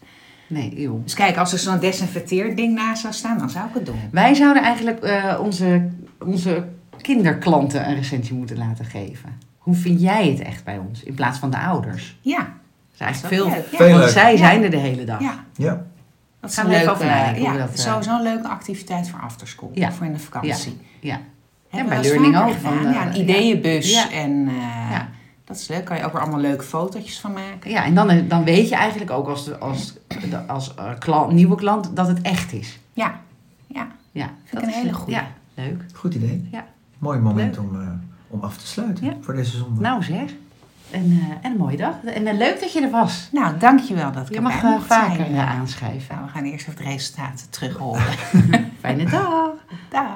Speaker 3: Nee, eeuw.
Speaker 2: Dus kijk, als er zo'n desinfecteerd ding naast zou staan, dan zou ik het doen.
Speaker 3: Wij zouden eigenlijk eh, onze, onze kinderklanten een recensie moeten laten geven. Hoe vind jij het echt bij ons? In plaats van de ouders.
Speaker 2: Ja,
Speaker 3: Dat is eigenlijk
Speaker 2: Dat is
Speaker 3: veel.
Speaker 2: ook leuk, ja.
Speaker 1: Veel
Speaker 3: Want
Speaker 1: leuk.
Speaker 3: zij
Speaker 2: Ja.
Speaker 3: zijn er de hele dag.
Speaker 2: ja.
Speaker 1: Ja.
Speaker 2: Dat is
Speaker 3: Gaan
Speaker 2: een
Speaker 3: we even
Speaker 2: leuke,
Speaker 3: over nadenken hoe
Speaker 2: ja,
Speaker 3: dat, eh,
Speaker 2: sowieso een leuke activiteit voor afterschool.
Speaker 3: Ja.
Speaker 2: Voor in de vakantie.
Speaker 3: ja.
Speaker 2: Hebben we
Speaker 3: bij
Speaker 2: wel eens
Speaker 3: Learning
Speaker 2: vaker
Speaker 3: ook, van
Speaker 2: gedaan.
Speaker 3: de-
Speaker 2: ja, een ideeënbus.
Speaker 3: Ja.
Speaker 2: En eh,
Speaker 3: Ja.
Speaker 2: dat is leuk. Kan je ook weer allemaal leuke fotootjes van maken.
Speaker 3: Ja, en dan, dan weet je eigenlijk ook als, de, als, de, als eh, klant, nieuwe klant dat het echt is.
Speaker 2: Ja. Ja.
Speaker 3: Ja, dat
Speaker 2: een
Speaker 3: is
Speaker 2: hele goeie.
Speaker 3: Ja, leuk.
Speaker 1: Goed idee.
Speaker 3: Ja.
Speaker 1: Mooi moment
Speaker 3: Leuk.
Speaker 1: om, eh, om af te sluiten
Speaker 3: Ja.
Speaker 1: voor deze zondag.
Speaker 3: Nou zeg, en, eh, en een mooie dag. En eh, leuk dat je er was.
Speaker 2: Nou, dankjewel dat ik
Speaker 3: Je
Speaker 2: erbij
Speaker 3: mag eh,
Speaker 2: mocht
Speaker 3: vaker
Speaker 2: zijn.
Speaker 3: eh, aanschrijven.
Speaker 2: Nou, we gaan eerst even het resultaat terug horen.
Speaker 3: Fijne dag.
Speaker 2: Dag.